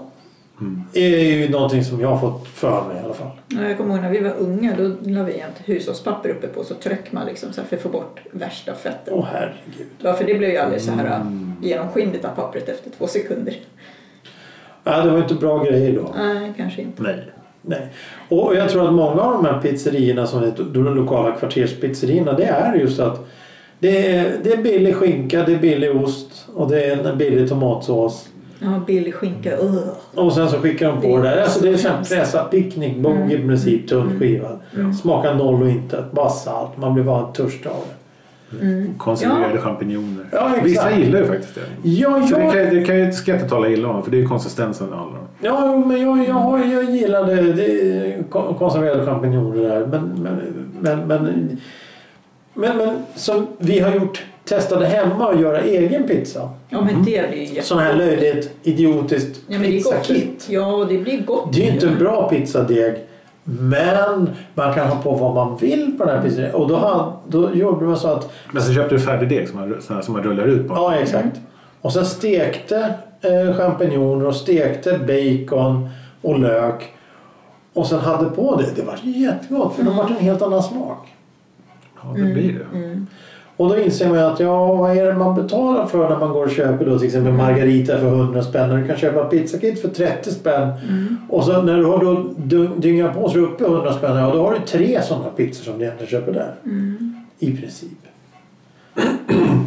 [SPEAKER 3] Det är ju någonting som jag har fått för mig i alla fall.
[SPEAKER 1] Ja, Jag kommer ihåg när vi var unga, då la vi jämt hushållspapper uppe på så tryckte man liksom så här för att få bort värsta fettet.
[SPEAKER 3] Åh herregud.
[SPEAKER 1] Ja, för det blev ju alldeles så här mm. genomskinligt av pappret efter två sekunder.
[SPEAKER 3] Ja, det var ju inte bra grejer då.
[SPEAKER 1] Nej, kanske inte.
[SPEAKER 2] Nej.
[SPEAKER 3] Nej. Och jag tror att många av de här pizzerierna som heter de lokala kvarterspizzerierna det är just att det är, det är billig skinka, det är billig ost och det är en billig tomatsås.
[SPEAKER 1] Ja, billig skinka, ugh.
[SPEAKER 3] Och sen så skickar de på det där. Alltså det är som pressad picknickbog i
[SPEAKER 1] Mm.
[SPEAKER 3] princip, tunn skivad. Smakar noll och inte. Bara salt. Man blir bara törstig av det.
[SPEAKER 2] Konserverade
[SPEAKER 1] Ja.
[SPEAKER 2] champinjoner.
[SPEAKER 3] Ja, exakt.
[SPEAKER 2] Vissa gillar ju faktiskt det.
[SPEAKER 3] Ja,
[SPEAKER 2] Så det,
[SPEAKER 3] jag,
[SPEAKER 2] kan, det kan jag ska jag inte tala illa om för det är ju konsistensen det handlar om.
[SPEAKER 3] ja men jag, jag, jag gillade det, kon- konserverade champinjoner där. Men, men, men, men, men, men som vi har gjort, testade hemma och göra egen pizza.
[SPEAKER 1] Ja, men det blir ju jätte...
[SPEAKER 3] Sån här löjligt idiotiskt
[SPEAKER 1] Ja, men det är
[SPEAKER 3] pizzakit.
[SPEAKER 1] gott. Ja, det blir gott.
[SPEAKER 3] Det är ju inte en bra pizzadeg. Men man kan ha på vad man vill på den här pizzan. Och då, ha- då gjorde man så att...
[SPEAKER 2] Men sen köpte du färdig deg som man, sån här, som man rullar ut på.
[SPEAKER 3] Ja, exakt. Och sen stekte eh, champinjoner och stekte bacon och lök. Och sen hade på det. Det var jättegott för då var det en helt annan smak.
[SPEAKER 2] Ja, det blir det.
[SPEAKER 3] Mm, Och då inser man ju att ja, vad är det man betalar för när man går och köper då till exempel Margarita för 100 spänn och du kan köpa pizzakit för 30 spänn. Och så när du har då dy- dyngat på så är du uppe i 100 spänn ja, då har du tre sådana pizzor som du egentligen köper där. I princip.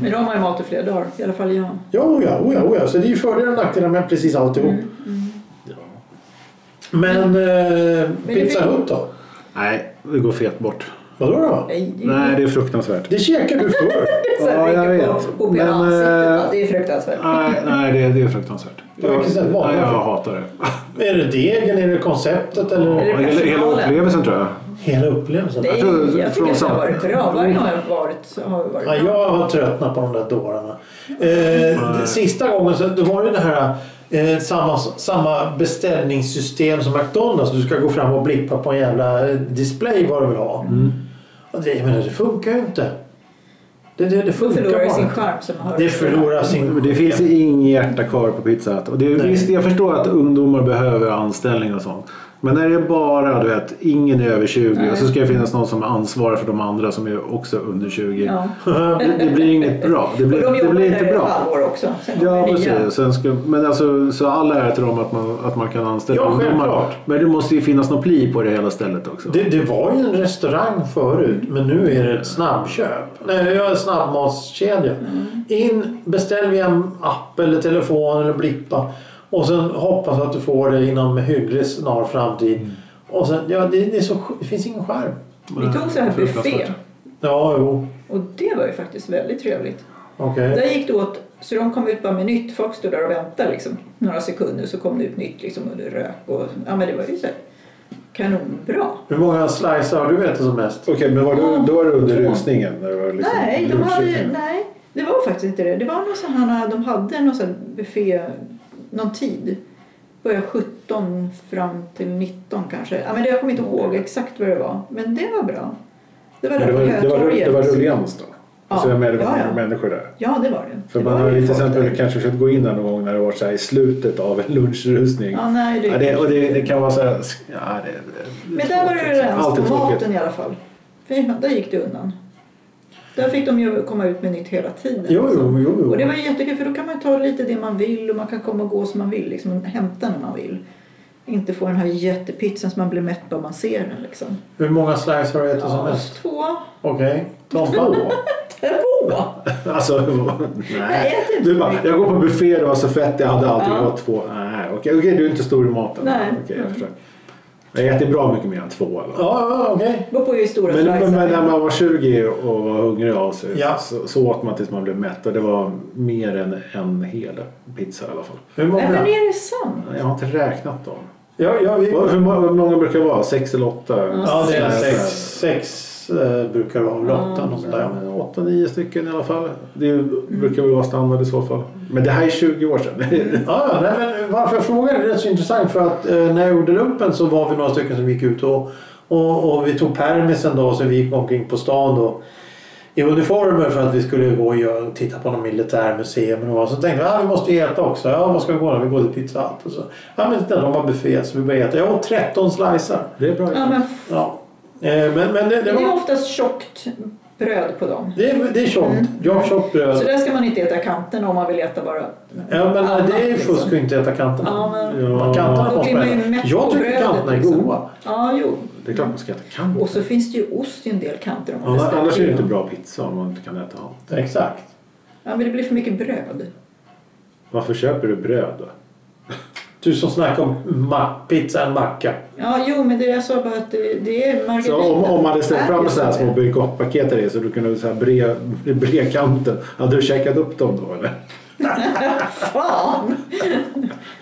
[SPEAKER 1] Men då har man ju mat i flera dagar, i alla fall jag.
[SPEAKER 3] Ja, oh ja, oh ja, oh ja. Så det är ju fördelar och nackdelar med precis alltihop. Men eh, Pizza
[SPEAKER 1] det-
[SPEAKER 3] Hut då?
[SPEAKER 2] Nej, det går fet bort.
[SPEAKER 3] Vadå då?
[SPEAKER 1] Nej, det är ju-
[SPEAKER 2] Nej, det är fruktansvärt.
[SPEAKER 3] Det käkar du förr.
[SPEAKER 1] Så här
[SPEAKER 2] Ja, jag
[SPEAKER 1] rycker
[SPEAKER 2] vet.
[SPEAKER 1] På, på
[SPEAKER 2] Men,
[SPEAKER 1] men, ansiktet.
[SPEAKER 2] eh,
[SPEAKER 1] Ja, det är fruktansvärt.
[SPEAKER 2] Nej, nej det, det är fruktansvärt.
[SPEAKER 3] Det verkar så här
[SPEAKER 2] nej,
[SPEAKER 3] vanligt.
[SPEAKER 2] jag hatar det.
[SPEAKER 3] är det degen? Är det konceptet? Eller
[SPEAKER 1] Eller-
[SPEAKER 2] Hela, hela
[SPEAKER 1] personalen?
[SPEAKER 2] upplevelsen tror jag.
[SPEAKER 3] hela upplevelsen?
[SPEAKER 1] Nej,
[SPEAKER 2] tror-
[SPEAKER 1] jag,
[SPEAKER 2] från
[SPEAKER 1] tycker att det
[SPEAKER 2] sam-
[SPEAKER 1] har varit bra. Varje gång jag har varit så har det varit
[SPEAKER 3] Ja,
[SPEAKER 1] bra.
[SPEAKER 3] jag har tröttnat på de där dårarna. Eh, sista gången så det var ju det här eh, samma, samma beställningssystem som McDonalds. Du ska gå fram och blippa på en jävla eh, display vad du vill ha. Och det, jag menar, det funkar ju inte. Det, det, det
[SPEAKER 1] Då
[SPEAKER 3] funkar
[SPEAKER 1] förlorar det
[SPEAKER 3] bara
[SPEAKER 1] sin
[SPEAKER 3] inte.
[SPEAKER 1] charm som har
[SPEAKER 3] Det förlorar
[SPEAKER 1] Alltså,
[SPEAKER 3] sin...
[SPEAKER 2] Det finns inget hjärta kvar på Pizza Hut. Och det är,
[SPEAKER 3] Nej.
[SPEAKER 2] visst, jag förstår att ungdomar behöver anställning och sånt. Men är det bara, du vet, ingen är över 20 och så ska det finnas någon som är ansvarig för de andra som är också under 20.
[SPEAKER 1] Ja.
[SPEAKER 2] det, det blir inget bra. Det
[SPEAKER 1] Och
[SPEAKER 2] blir,
[SPEAKER 1] de
[SPEAKER 2] det
[SPEAKER 1] jobbar
[SPEAKER 2] blir
[SPEAKER 1] ju
[SPEAKER 2] inte
[SPEAKER 1] där i ett
[SPEAKER 2] bra.
[SPEAKER 1] halvår också. Sen
[SPEAKER 2] Ja,
[SPEAKER 1] kommer nya.
[SPEAKER 2] precis. Sen ska, men alltså, så alla är till dem att man, att man kan anställa
[SPEAKER 3] Ja,
[SPEAKER 2] ungdomar.
[SPEAKER 3] självklart.
[SPEAKER 2] Men det måste ju finnas någon pli på det hela stället också.
[SPEAKER 3] Det, det var ju en restaurang förut men nu är det ett snabbköp. Nej, jag är en snabbmatskedja.
[SPEAKER 1] Mm.
[SPEAKER 3] In, beställ via en app eller telefon eller blippa. Och sen hoppas att du får det inom hygglig snar framtid.
[SPEAKER 1] Mm.
[SPEAKER 3] Och sen, ja, det, det, är så, det finns ingen skärm.
[SPEAKER 1] Vi tog så här buffé
[SPEAKER 3] Ja, jo.
[SPEAKER 1] och det var ju faktiskt väldigt trevligt.
[SPEAKER 3] Okej.
[SPEAKER 1] Där gick det åt, så de kom ut bara med nytt. Folk stod där och väntade liksom, några sekunder så kom det ut nytt liksom, och det rök. Och, ja, men det var ju så här, kanonbra.
[SPEAKER 3] Hur många slicer har du ätit som mest?
[SPEAKER 2] Okej, men var
[SPEAKER 1] du- då var du under Ja.
[SPEAKER 2] rusningen?
[SPEAKER 1] Nej, de hade, nej, det var faktiskt inte det. Det var någon sån här, de hade någon sån här buffé, någon tid. Började 17 fram till 19 kanske. Ja, men det, jag kommer inte ihåg exakt vad det var. Men det var bra. Det var där på Hötorget.
[SPEAKER 2] ruljans då?
[SPEAKER 1] Ja.
[SPEAKER 2] Alltså,
[SPEAKER 1] Så jag menar, det var Ja, ja.
[SPEAKER 2] människor där.
[SPEAKER 1] Ja, det var det.
[SPEAKER 2] För
[SPEAKER 1] det
[SPEAKER 2] man
[SPEAKER 1] var
[SPEAKER 2] har ju till
[SPEAKER 1] folk
[SPEAKER 2] exempel
[SPEAKER 1] där.
[SPEAKER 2] kanske försökt gå in där någon gång när det var så här i slutet av en lunchrusning.
[SPEAKER 1] Ja, nej, det,
[SPEAKER 2] Ja, det, och det, det kan vara så här... sk- Ja, det, det,
[SPEAKER 1] Men där var det rens på
[SPEAKER 2] Alltid tråkigt.
[SPEAKER 1] maten i alla fall. För där gick det undan. Där fick de ju komma ut med nytt hela tiden.
[SPEAKER 3] Jo,
[SPEAKER 1] liksom.
[SPEAKER 3] jo, jo. jo.
[SPEAKER 1] Och det var ju jättekul för då kan man ju ta lite det man vill och man kan komma och gå som man vill. Liksom, hämta när man vill. Inte få den här jättepizzan som man blir mätt bara man ser den. Liksom.
[SPEAKER 3] Hur många slicer har du ätit som mest?
[SPEAKER 1] Två.
[SPEAKER 3] Okej. Tompa?
[SPEAKER 1] Två!
[SPEAKER 2] Alltså,
[SPEAKER 1] Jag
[SPEAKER 2] nej.
[SPEAKER 1] äter inte
[SPEAKER 2] Du
[SPEAKER 1] så
[SPEAKER 2] bara,
[SPEAKER 1] mycket.
[SPEAKER 2] jag går på buffé, det var så fett, jag hade allting,
[SPEAKER 1] Ja.
[SPEAKER 2] jag åt två. Nej, okej, okej, du är inte stor i maten.
[SPEAKER 1] Nej.
[SPEAKER 2] Okej, jag förstår. Jag äter bra mycket mer än två. Eller?
[SPEAKER 3] Ja, ja, okej.
[SPEAKER 1] Det var på ju stora
[SPEAKER 2] Men, men, men när
[SPEAKER 1] slicer.
[SPEAKER 2] man var 20 och var hungrig av sig
[SPEAKER 3] Ja.
[SPEAKER 2] så, så åt man tills man blev mätt och det var mer än en hel pizza i alla fall.
[SPEAKER 3] Hur
[SPEAKER 1] Nej,
[SPEAKER 3] många?
[SPEAKER 1] men är det sant?
[SPEAKER 2] Jag har inte räknat dem.
[SPEAKER 3] Ja, ja, vi...
[SPEAKER 2] Vad- Hur må- hur många brukar det vara? Sex eller åtta?
[SPEAKER 3] Ja, det är
[SPEAKER 2] Så här,
[SPEAKER 3] sex.
[SPEAKER 2] så
[SPEAKER 3] Sex eh, brukar det vara. Eller åtta, något sånt
[SPEAKER 2] här.
[SPEAKER 3] där.
[SPEAKER 2] Ja, men Åtta, nio stycken i alla fall. Det är ju- brukar väl vara standard i så fall. Men det här är 20 år sedan.
[SPEAKER 3] Ja, ja, nej, men varför jag frågar är rätt så intressant. För att eh, när jag gjorde lumpen så var vi några stycken som gick ut och, och, och vi tog permis en dag så vi gick omkring på stan då, i uniformer för att vi skulle gå och göra- titta på något militärmuseum. Och något. så tänkte vi att ah, vi måste äta också. Ja, vad ska vi gå då? Vi går till Pizza Hut. Och så, ja, men titta, de har buffé så vi började äta. Jag åt 13 slicer.
[SPEAKER 2] Det är bra.
[SPEAKER 1] Ja, men,
[SPEAKER 3] Ja. Eh, men men det,
[SPEAKER 1] det
[SPEAKER 3] det,
[SPEAKER 1] är
[SPEAKER 3] var,
[SPEAKER 1] oftast tjockt bröd på dem.
[SPEAKER 3] det, är- det är tjockt. Jag har tjockt bröd.
[SPEAKER 1] Så där ska man inte äta kanterna om man vill äta bara
[SPEAKER 3] Ja, men
[SPEAKER 1] annat,
[SPEAKER 3] det är ju
[SPEAKER 1] liksom.
[SPEAKER 3] fusk att inte äta kanterna.
[SPEAKER 1] Ja, men-
[SPEAKER 2] Ja.
[SPEAKER 3] Kanterna
[SPEAKER 1] Då
[SPEAKER 3] måste
[SPEAKER 1] blir
[SPEAKER 3] man
[SPEAKER 1] man ju
[SPEAKER 3] äta.
[SPEAKER 1] mätt
[SPEAKER 3] Jag
[SPEAKER 1] på
[SPEAKER 3] tycker
[SPEAKER 1] brödet,
[SPEAKER 3] kanterna är
[SPEAKER 1] liksom.
[SPEAKER 3] goda.
[SPEAKER 1] Ja, jo.
[SPEAKER 2] Det är klart man ska äta
[SPEAKER 1] Och
[SPEAKER 2] kant.
[SPEAKER 1] så finns det ju ost i en del kanter om man
[SPEAKER 2] Annars,
[SPEAKER 1] beställer
[SPEAKER 2] annars är det
[SPEAKER 1] det.
[SPEAKER 2] inte bra pizza om man inte kan äta allt.
[SPEAKER 3] Exakt.
[SPEAKER 1] Ja, men det blir för mycket bröd.
[SPEAKER 2] Varför köper du bröd då?
[SPEAKER 3] Du som snackar om ma- pizza en macka.
[SPEAKER 1] Ja, jo, men det jag sa bara att det, det är margarita.
[SPEAKER 2] Så om, om man hade ställt
[SPEAKER 1] Nej,
[SPEAKER 2] fram
[SPEAKER 1] jag
[SPEAKER 2] så här
[SPEAKER 1] sa
[SPEAKER 2] små
[SPEAKER 1] det.
[SPEAKER 2] bake-off-paket till dig så du kunde så här bre, bre kanten. Hade du käkat upp dem då eller?
[SPEAKER 1] Fan!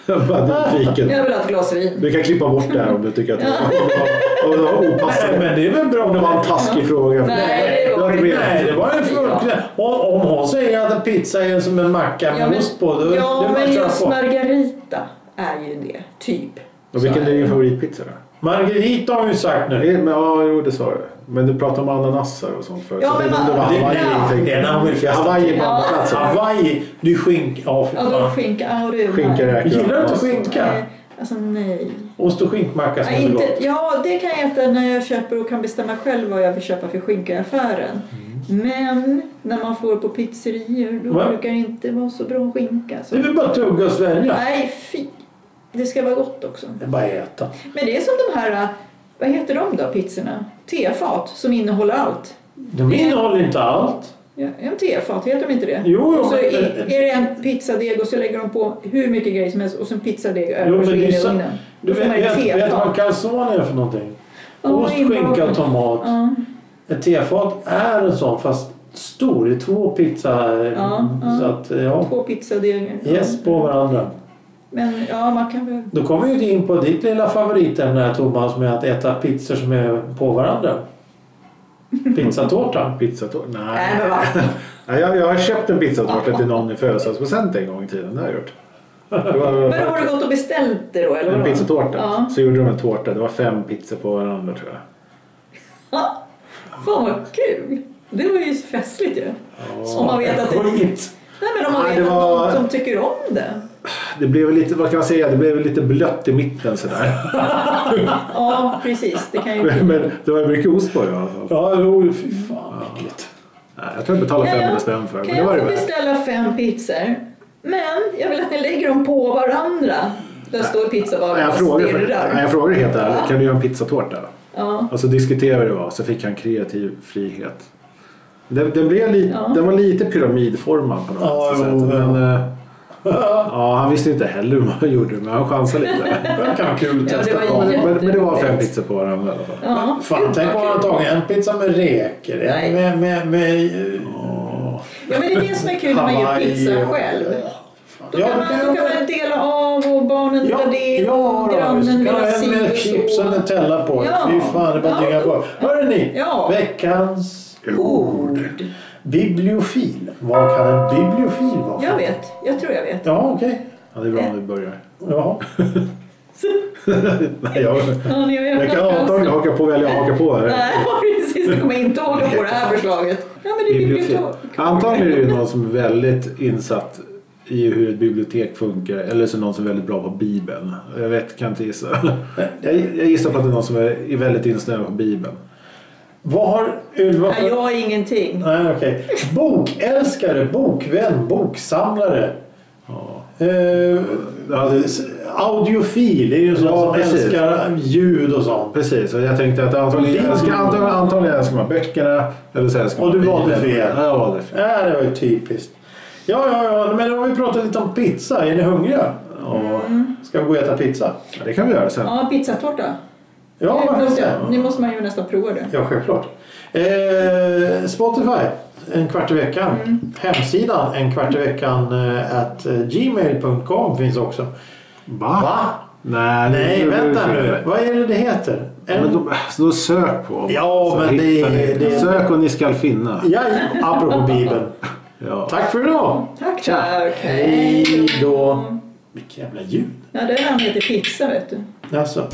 [SPEAKER 2] Jag bara nyfiken.
[SPEAKER 1] Jag vill ha ett glas vin.
[SPEAKER 2] Du kan klippa bort det här om du tycker att det var, om det var
[SPEAKER 3] Nej,
[SPEAKER 2] opassande.
[SPEAKER 3] men det är väl bra.
[SPEAKER 2] Om det var en taskig fråga.
[SPEAKER 1] Nej, det var
[SPEAKER 2] hade
[SPEAKER 1] det
[SPEAKER 2] mer-
[SPEAKER 3] Nej, det var en fråga. Om, om hon säger att en pizza är som en macka med
[SPEAKER 1] Ja, men,
[SPEAKER 3] ost på. Då,
[SPEAKER 1] ja,
[SPEAKER 3] det
[SPEAKER 1] men
[SPEAKER 3] man
[SPEAKER 1] just
[SPEAKER 3] på.
[SPEAKER 1] margarita är ju det, typ.
[SPEAKER 2] Och vilken
[SPEAKER 1] Så
[SPEAKER 2] är din favoritpizza då?
[SPEAKER 3] Margarita har ju sagt nu.
[SPEAKER 2] Nej, Men, ja, jo, det sa du. Men du pratade om ananassar och sånt förut.
[SPEAKER 1] Ja,
[SPEAKER 2] så jag
[SPEAKER 1] men
[SPEAKER 2] tänkte om
[SPEAKER 1] vad-
[SPEAKER 2] det
[SPEAKER 3] Det-
[SPEAKER 2] var Hawaii.
[SPEAKER 3] ja,
[SPEAKER 2] tänkte jag.
[SPEAKER 3] det är när hon vill festa.
[SPEAKER 2] Hawaii på andra
[SPEAKER 1] Ja.
[SPEAKER 2] plats.
[SPEAKER 3] Hawaij, det är skinka. Ja, fy
[SPEAKER 1] Ja, då är det
[SPEAKER 3] fan.
[SPEAKER 1] skinka. Ja, det är
[SPEAKER 2] Skinka räkor.
[SPEAKER 3] Gillar du inte
[SPEAKER 2] Alltså,
[SPEAKER 3] skinka?
[SPEAKER 1] Nej, Alltså nej.
[SPEAKER 3] Ost och skinkmacka som
[SPEAKER 1] Nej,
[SPEAKER 3] är så
[SPEAKER 1] inte,
[SPEAKER 3] gott.
[SPEAKER 1] ja, det kan jag äta när jag köper och kan bestämma själv vad jag vill köpa för skinka i affären. Men när man får på pizzerior då
[SPEAKER 3] Mm. Va?
[SPEAKER 1] brukar det inte vara så bra skinka.
[SPEAKER 3] Det
[SPEAKER 1] Så.
[SPEAKER 3] är väl bara att tugga och svälja.
[SPEAKER 1] Nej, fy. Det ska vara gott också.
[SPEAKER 3] Det är bara att äta.
[SPEAKER 1] Men det är som de här, äh, vad heter de då, pizzorna? Tefat som innehåller allt.
[SPEAKER 3] De innehåller inte allt.
[SPEAKER 1] Ja, en tefat, heter de inte det?
[SPEAKER 3] Jo, jo,
[SPEAKER 1] och så
[SPEAKER 3] men-
[SPEAKER 1] är, är det en pizzadeg och så lägger de på hur mycket grejer som helst och så en pizzadeg
[SPEAKER 3] Jo,
[SPEAKER 1] över och
[SPEAKER 3] men
[SPEAKER 1] så in
[SPEAKER 3] det är
[SPEAKER 1] i
[SPEAKER 3] så-
[SPEAKER 1] ugnen.
[SPEAKER 3] Du
[SPEAKER 1] Då får
[SPEAKER 3] vet,
[SPEAKER 1] man ett
[SPEAKER 3] vet, vet du vad
[SPEAKER 1] tefat.
[SPEAKER 3] calzone är för någonting?
[SPEAKER 1] Ja,
[SPEAKER 3] Ost,
[SPEAKER 1] inbakad.
[SPEAKER 3] skinka och tomat.
[SPEAKER 1] Ja,
[SPEAKER 3] Ett tefat är en sån fast stor. Det är två pizza...
[SPEAKER 1] Ja, ja.
[SPEAKER 3] Så att, ja.
[SPEAKER 1] två pizzadegar.
[SPEAKER 3] Yes på varandra.
[SPEAKER 1] Men ja, man kan väl...
[SPEAKER 3] Då kommer vi ju in på ditt lilla favoritämne här Thomas med att äta pizzor som är på varandra. Pizzatårta.
[SPEAKER 2] Pizzatårta?
[SPEAKER 1] Nej, men
[SPEAKER 2] Nej.
[SPEAKER 1] vad
[SPEAKER 2] Nej jag, jag har köpt en pizzatårta till någon i födelsedagspresent en gång i tiden. Det har jag gjort. Det
[SPEAKER 1] Men då
[SPEAKER 2] var
[SPEAKER 1] har du gått och beställt det då? Eller
[SPEAKER 2] en
[SPEAKER 1] vadå?
[SPEAKER 2] pizzatårta.
[SPEAKER 1] Ja.
[SPEAKER 2] Så gjorde de en tårta. Det var fem pizzor på varandra tror jag.
[SPEAKER 1] Ja. Fan vad kul! Det var ju så festligt ju. Om man vet att det...
[SPEAKER 3] Skit!
[SPEAKER 1] Nej men om man
[SPEAKER 2] Nej,
[SPEAKER 1] vet
[SPEAKER 2] det
[SPEAKER 1] att
[SPEAKER 2] var-
[SPEAKER 1] någon som tycker om det.
[SPEAKER 2] Det blev väl lite, vad kan man säga, det blev väl lite blött i mitten sådär.
[SPEAKER 1] Ja, precis. Det kan ju bli.
[SPEAKER 2] Men det var mycket ost på det i alla fall.
[SPEAKER 3] Ja, jo, fy fan vad äckligt.
[SPEAKER 2] Nej, Jag tror jag betalade
[SPEAKER 1] Kan jag-
[SPEAKER 2] 500 spänn för det,
[SPEAKER 1] Kan
[SPEAKER 2] men det var
[SPEAKER 1] jag
[SPEAKER 2] det
[SPEAKER 1] få
[SPEAKER 2] väl.
[SPEAKER 1] beställa fem pizzor? Men jag vill att ni lägger dem på varandra. Där står
[SPEAKER 2] Nej,
[SPEAKER 1] pizzabagaren och
[SPEAKER 2] Jag frågade, för,
[SPEAKER 1] stirrar.
[SPEAKER 2] nej, jag frågade helt ärligt,
[SPEAKER 1] Ja.
[SPEAKER 2] kan du göra en pizzatårta?
[SPEAKER 1] Ja.
[SPEAKER 2] Och så diskuterade vi det var, så fick han kreativ frihet. Den, den, blev li,
[SPEAKER 1] Ja.
[SPEAKER 2] den var lite pyramidformad på något
[SPEAKER 3] Ja,
[SPEAKER 2] sätt.
[SPEAKER 3] jo,
[SPEAKER 2] men,
[SPEAKER 3] ja.
[SPEAKER 2] eh, ja, han visste inte heller hur man gjorde det, men han chansade lite.
[SPEAKER 3] Det kan vara kul att
[SPEAKER 1] Ja, det
[SPEAKER 3] testa
[SPEAKER 1] var
[SPEAKER 3] på.
[SPEAKER 1] jätte-
[SPEAKER 2] men, men det var fem
[SPEAKER 1] Jätteroligt.
[SPEAKER 2] pizzor på varandra i alla fall.
[SPEAKER 1] ja.
[SPEAKER 3] Fan,
[SPEAKER 1] Gud,
[SPEAKER 3] tänk
[SPEAKER 1] vad
[SPEAKER 3] om man hade
[SPEAKER 1] kul.
[SPEAKER 3] tagit en pizza med räkor,
[SPEAKER 1] Nej.
[SPEAKER 3] en med, med, med eh,
[SPEAKER 1] Ja, men det är det som är kul när man gör
[SPEAKER 3] Hawaii
[SPEAKER 1] pizza
[SPEAKER 3] och-
[SPEAKER 1] själv.
[SPEAKER 3] Fan.
[SPEAKER 1] Då kan, man, då kan man dela av och barnen
[SPEAKER 3] Ja,
[SPEAKER 1] tar det
[SPEAKER 3] ja,
[SPEAKER 1] och
[SPEAKER 3] då,
[SPEAKER 1] grannen
[SPEAKER 3] så
[SPEAKER 1] vill
[SPEAKER 3] kan
[SPEAKER 1] ha
[SPEAKER 3] ha en
[SPEAKER 1] si
[SPEAKER 3] med
[SPEAKER 1] och så.
[SPEAKER 3] chips och Nutella på.
[SPEAKER 1] Ja.
[SPEAKER 3] Fy fan, det bara
[SPEAKER 1] Ja.
[SPEAKER 3] dyngar på. Hörrni,
[SPEAKER 1] Ja.
[SPEAKER 3] veckans ord. Bibliofil. Vad kan en bibliofil vara?
[SPEAKER 1] Jag vet. Jag tror jag vet.
[SPEAKER 3] Ja, okej.
[SPEAKER 2] Ja, det är bra om vi börjar.
[SPEAKER 3] Ja.
[SPEAKER 2] Nej, jag,
[SPEAKER 1] Ja, ni har ju
[SPEAKER 2] jag kan
[SPEAKER 1] öppnat fönstret.
[SPEAKER 2] antagligen haka på, välja haka på här.
[SPEAKER 1] Nej, precis. Du kommer inte åka på det här förslaget. Ja, men det är
[SPEAKER 2] Bibliotek.
[SPEAKER 1] bibliotek.
[SPEAKER 2] Antagligen är det ju någon som är väldigt insatt i hur ett bibliotek funkar eller så någon som är väldigt bra på Bibeln. Jag vet, kan inte gissa. Jag, jag gissar på att det är någon som är är väldigt insnöad på Bibeln.
[SPEAKER 3] Vad har Ylva för...
[SPEAKER 1] Nej, jag har ingenting.
[SPEAKER 3] Nej, okej. Bokälskare, bokvän, boksamlare.
[SPEAKER 2] Ja.
[SPEAKER 3] Eh,
[SPEAKER 2] Ja, det-
[SPEAKER 3] audiofil, det är ju sån
[SPEAKER 2] Ja,
[SPEAKER 3] som
[SPEAKER 2] precis.
[SPEAKER 3] älskar ljud och sånt.
[SPEAKER 2] Precis, och jag tänkte att antagligen
[SPEAKER 3] Bibeln.
[SPEAKER 2] älskar, antagligen, antagligen älskar man böckerna eller så älskar
[SPEAKER 3] Och
[SPEAKER 2] man
[SPEAKER 3] du valde
[SPEAKER 2] Bibeln.
[SPEAKER 3] fel.
[SPEAKER 2] Ja, jag valde fel.
[SPEAKER 3] Ja, det var ju typiskt. Ja, ja, ja, men nu har vi pratat lite om pizza. Är ni hungriga?
[SPEAKER 2] Ja,
[SPEAKER 3] Ska vi gå och äta pizza?
[SPEAKER 2] det kan vi göra sen.
[SPEAKER 1] Ja, pizzatårta.
[SPEAKER 3] Ja,
[SPEAKER 1] Nu måste
[SPEAKER 3] varför inte?
[SPEAKER 1] jag- Nu måste man ju nästan prova det.
[SPEAKER 3] Ja, självklart. Eh, Spotify, en kvart i veckan.
[SPEAKER 2] Mm.
[SPEAKER 3] Hemsidan, en kvart i veckan eh, at eh, gmail.com finns också.
[SPEAKER 2] Va?
[SPEAKER 3] Va?
[SPEAKER 2] Nej, det-
[SPEAKER 3] Nej,
[SPEAKER 2] det-
[SPEAKER 3] vänta nu. Vad är det det heter?
[SPEAKER 2] Ja,
[SPEAKER 3] En...
[SPEAKER 2] men då, så då sök på
[SPEAKER 3] Ja,
[SPEAKER 2] så
[SPEAKER 3] men
[SPEAKER 2] hittar
[SPEAKER 3] det-
[SPEAKER 2] ni.
[SPEAKER 3] det-
[SPEAKER 2] Sök och ni skall finna.
[SPEAKER 3] Ja, apropå Bibeln.
[SPEAKER 2] Ja.
[SPEAKER 3] Tack för idag!
[SPEAKER 1] Tack, tack.
[SPEAKER 3] Hej då! Vilket jävla ljud!
[SPEAKER 1] Ja, det är han heter pizza, vet du.
[SPEAKER 3] Alltså.